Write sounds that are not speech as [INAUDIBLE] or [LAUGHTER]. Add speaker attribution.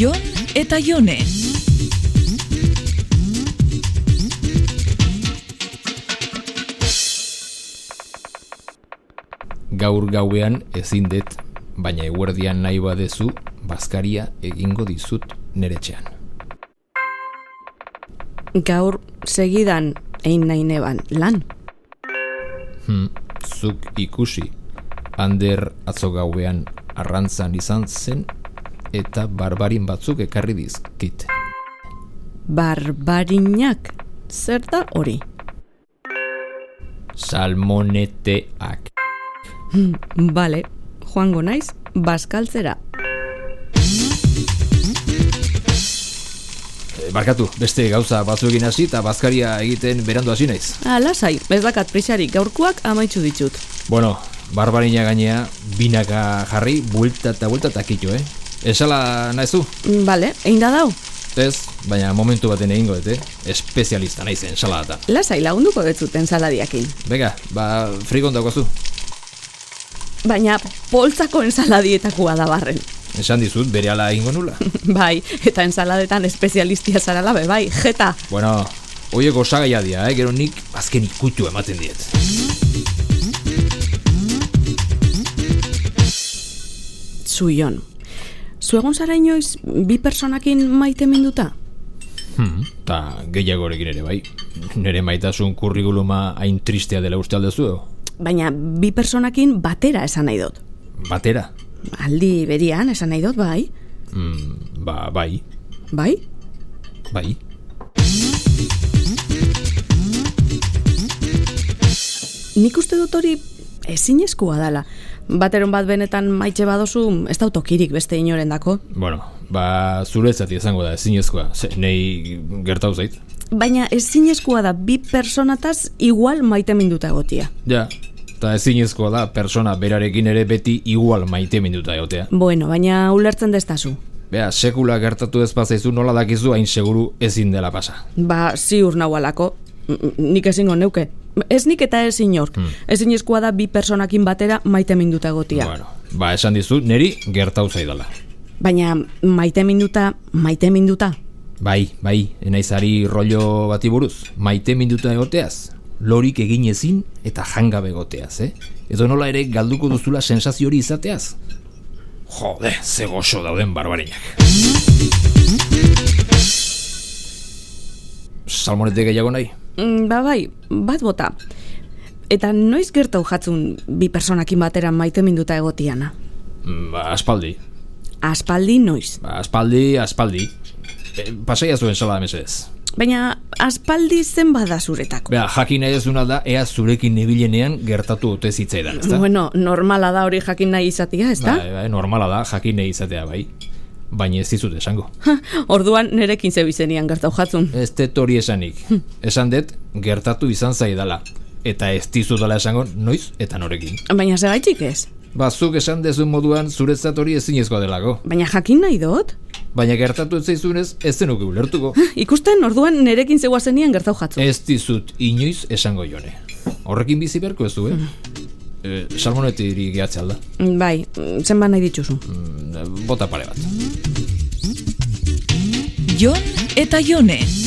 Speaker 1: Jon eta Jone.
Speaker 2: Gaur gauean ezin dut, baina eguerdian nahi badezu, bazkaria egingo dizut neretxean.
Speaker 3: Gaur segidan egin nahi neban lan.
Speaker 2: Hm, zuk ikusi, Ander atzo gauean arrantzan izan zen eta barbarin batzuk ekarri dizkit.
Speaker 3: Barbarinak. Zer da hori?
Speaker 2: Salmoneteak.
Speaker 3: Bale, joango naiz, baskaltzera.
Speaker 2: E, Barkatu, beste gauza batzuekin hasi eta bazkaria egiten berandu hasi naiz.
Speaker 3: Alasai, Ah, ez dakat prisarik gaurkoak amaitzu ditut.
Speaker 2: Bueno, barbarina gainea, binaka jarri, buelta eta buelta eta kitxo, eh? Esala naizu?
Speaker 3: Bale, egin da dau.
Speaker 2: Ez, baina momentu baten egingo dut, eh? Espezialista naizen saladatan.
Speaker 3: Lasai lagunduko betzuten saladiakin.
Speaker 2: Venga, ba, frigon daukazu.
Speaker 3: Baina poltzako ensaladietakoa da barren. [LAUGHS]
Speaker 2: Esan dizut, bere ala egingo [LAUGHS] nula.
Speaker 3: Bai, eta ensaladetan espezialistia zarala be bai, jeta.
Speaker 2: bueno, oiek osagaia dira, eh? Gero nik azken ikutu ematen diet.
Speaker 3: Zuion. Zuegon zara inoiz bi personakin maite minduta?
Speaker 2: Hmm, ta gehiagorekin ere bai. Nere maitasun kurrikuluma hain tristea dela uste aldezu, edo?
Speaker 3: Baina bi personakin batera esan nahi dut.
Speaker 2: Batera?
Speaker 3: Aldi berian esan nahi dut, bai.
Speaker 2: Mm, ba, bai,
Speaker 3: Bai?
Speaker 2: bai.
Speaker 3: Nik uste dut hori ezin eskua dala. Bateron bat benetan maitxe badozu, ez da autokirik beste inoren dako.
Speaker 2: Bueno, ba, zuretzat izango da, ezinezkoa. Ze, nei gertau zait.
Speaker 3: Baina ezin eskua da bi personataz igual maite minduta egotia.
Speaker 2: Ja, eta ezinezkoa da persona berarekin ere beti igual maite minduta egotea.
Speaker 3: Bueno, baina ulertzen destazu.
Speaker 2: Bea, sekula gertatu ez bazaizu nola dakizu hain seguru ezin dela pasa.
Speaker 3: Ba, ziur nau alako. N- n- Nik ezingo neuke. Ez nik eta ez inork. Ezin eskua da bi personakin batera maite minduta egotia.
Speaker 2: Bueno, ba, esan dizut, neri gertau zaidala.
Speaker 3: Baina maite minduta, maite minduta.
Speaker 2: Bai, bai, enaizari rollo bati buruz. Maite minduta egoteaz, lorik egin ezin eta jangabe egoteaz, eh? Edo nola ere galduko duzula sensazio hori izateaz? Jode, ze goxo dauden barbarinak. Salmonete gehiago nahi?
Speaker 3: Mm, Ba bai, bat bota. Eta noiz gertau jatzun bi personakin batera maite minduta egotiana?
Speaker 2: Mm, Ba, aspaldi.
Speaker 3: Aspaldi noiz.
Speaker 2: Ba, aspaldi, aspaldi. E, pasaia zuen sala mesedez.
Speaker 3: Baina aspaldi zen bada zuretako.
Speaker 2: Bea, jakin nahi dezuna da, ea zurekin nebilenean gertatu ote zitzaidan, ezta?
Speaker 3: Bueno, normala da hori jakin nahi izatia, ez da?
Speaker 2: Bai, bai, normala da, jakin nahi izatea bai. Baina ez dizut esango.
Speaker 3: Orduan nerekin zebizenian gertau jatzun.
Speaker 2: Ez dut hori esanik. Esan dut, gertatu izan zaidala. Eta ez dizutala esango noiz eta norekin.
Speaker 3: Baina zergaitzik ez?
Speaker 2: Bazuk esan dezun moduan zuretzat hori ezinezkoa delako.
Speaker 3: Baina jakin nahi dut?
Speaker 2: Baina gertatu ez zaizunez ez zenuke ulertuko.
Speaker 3: Ikusten orduan nerekin zegoazenian gertau jatzun.
Speaker 2: Ez dizut inoiz esango jone. Horrekin bizi beharko ez du, eh? E, Salmonetiri gehatze alda.
Speaker 3: Bai, zenba nahi dituzu.
Speaker 2: Mm, Bota pare bat.
Speaker 1: Jon eta Jone.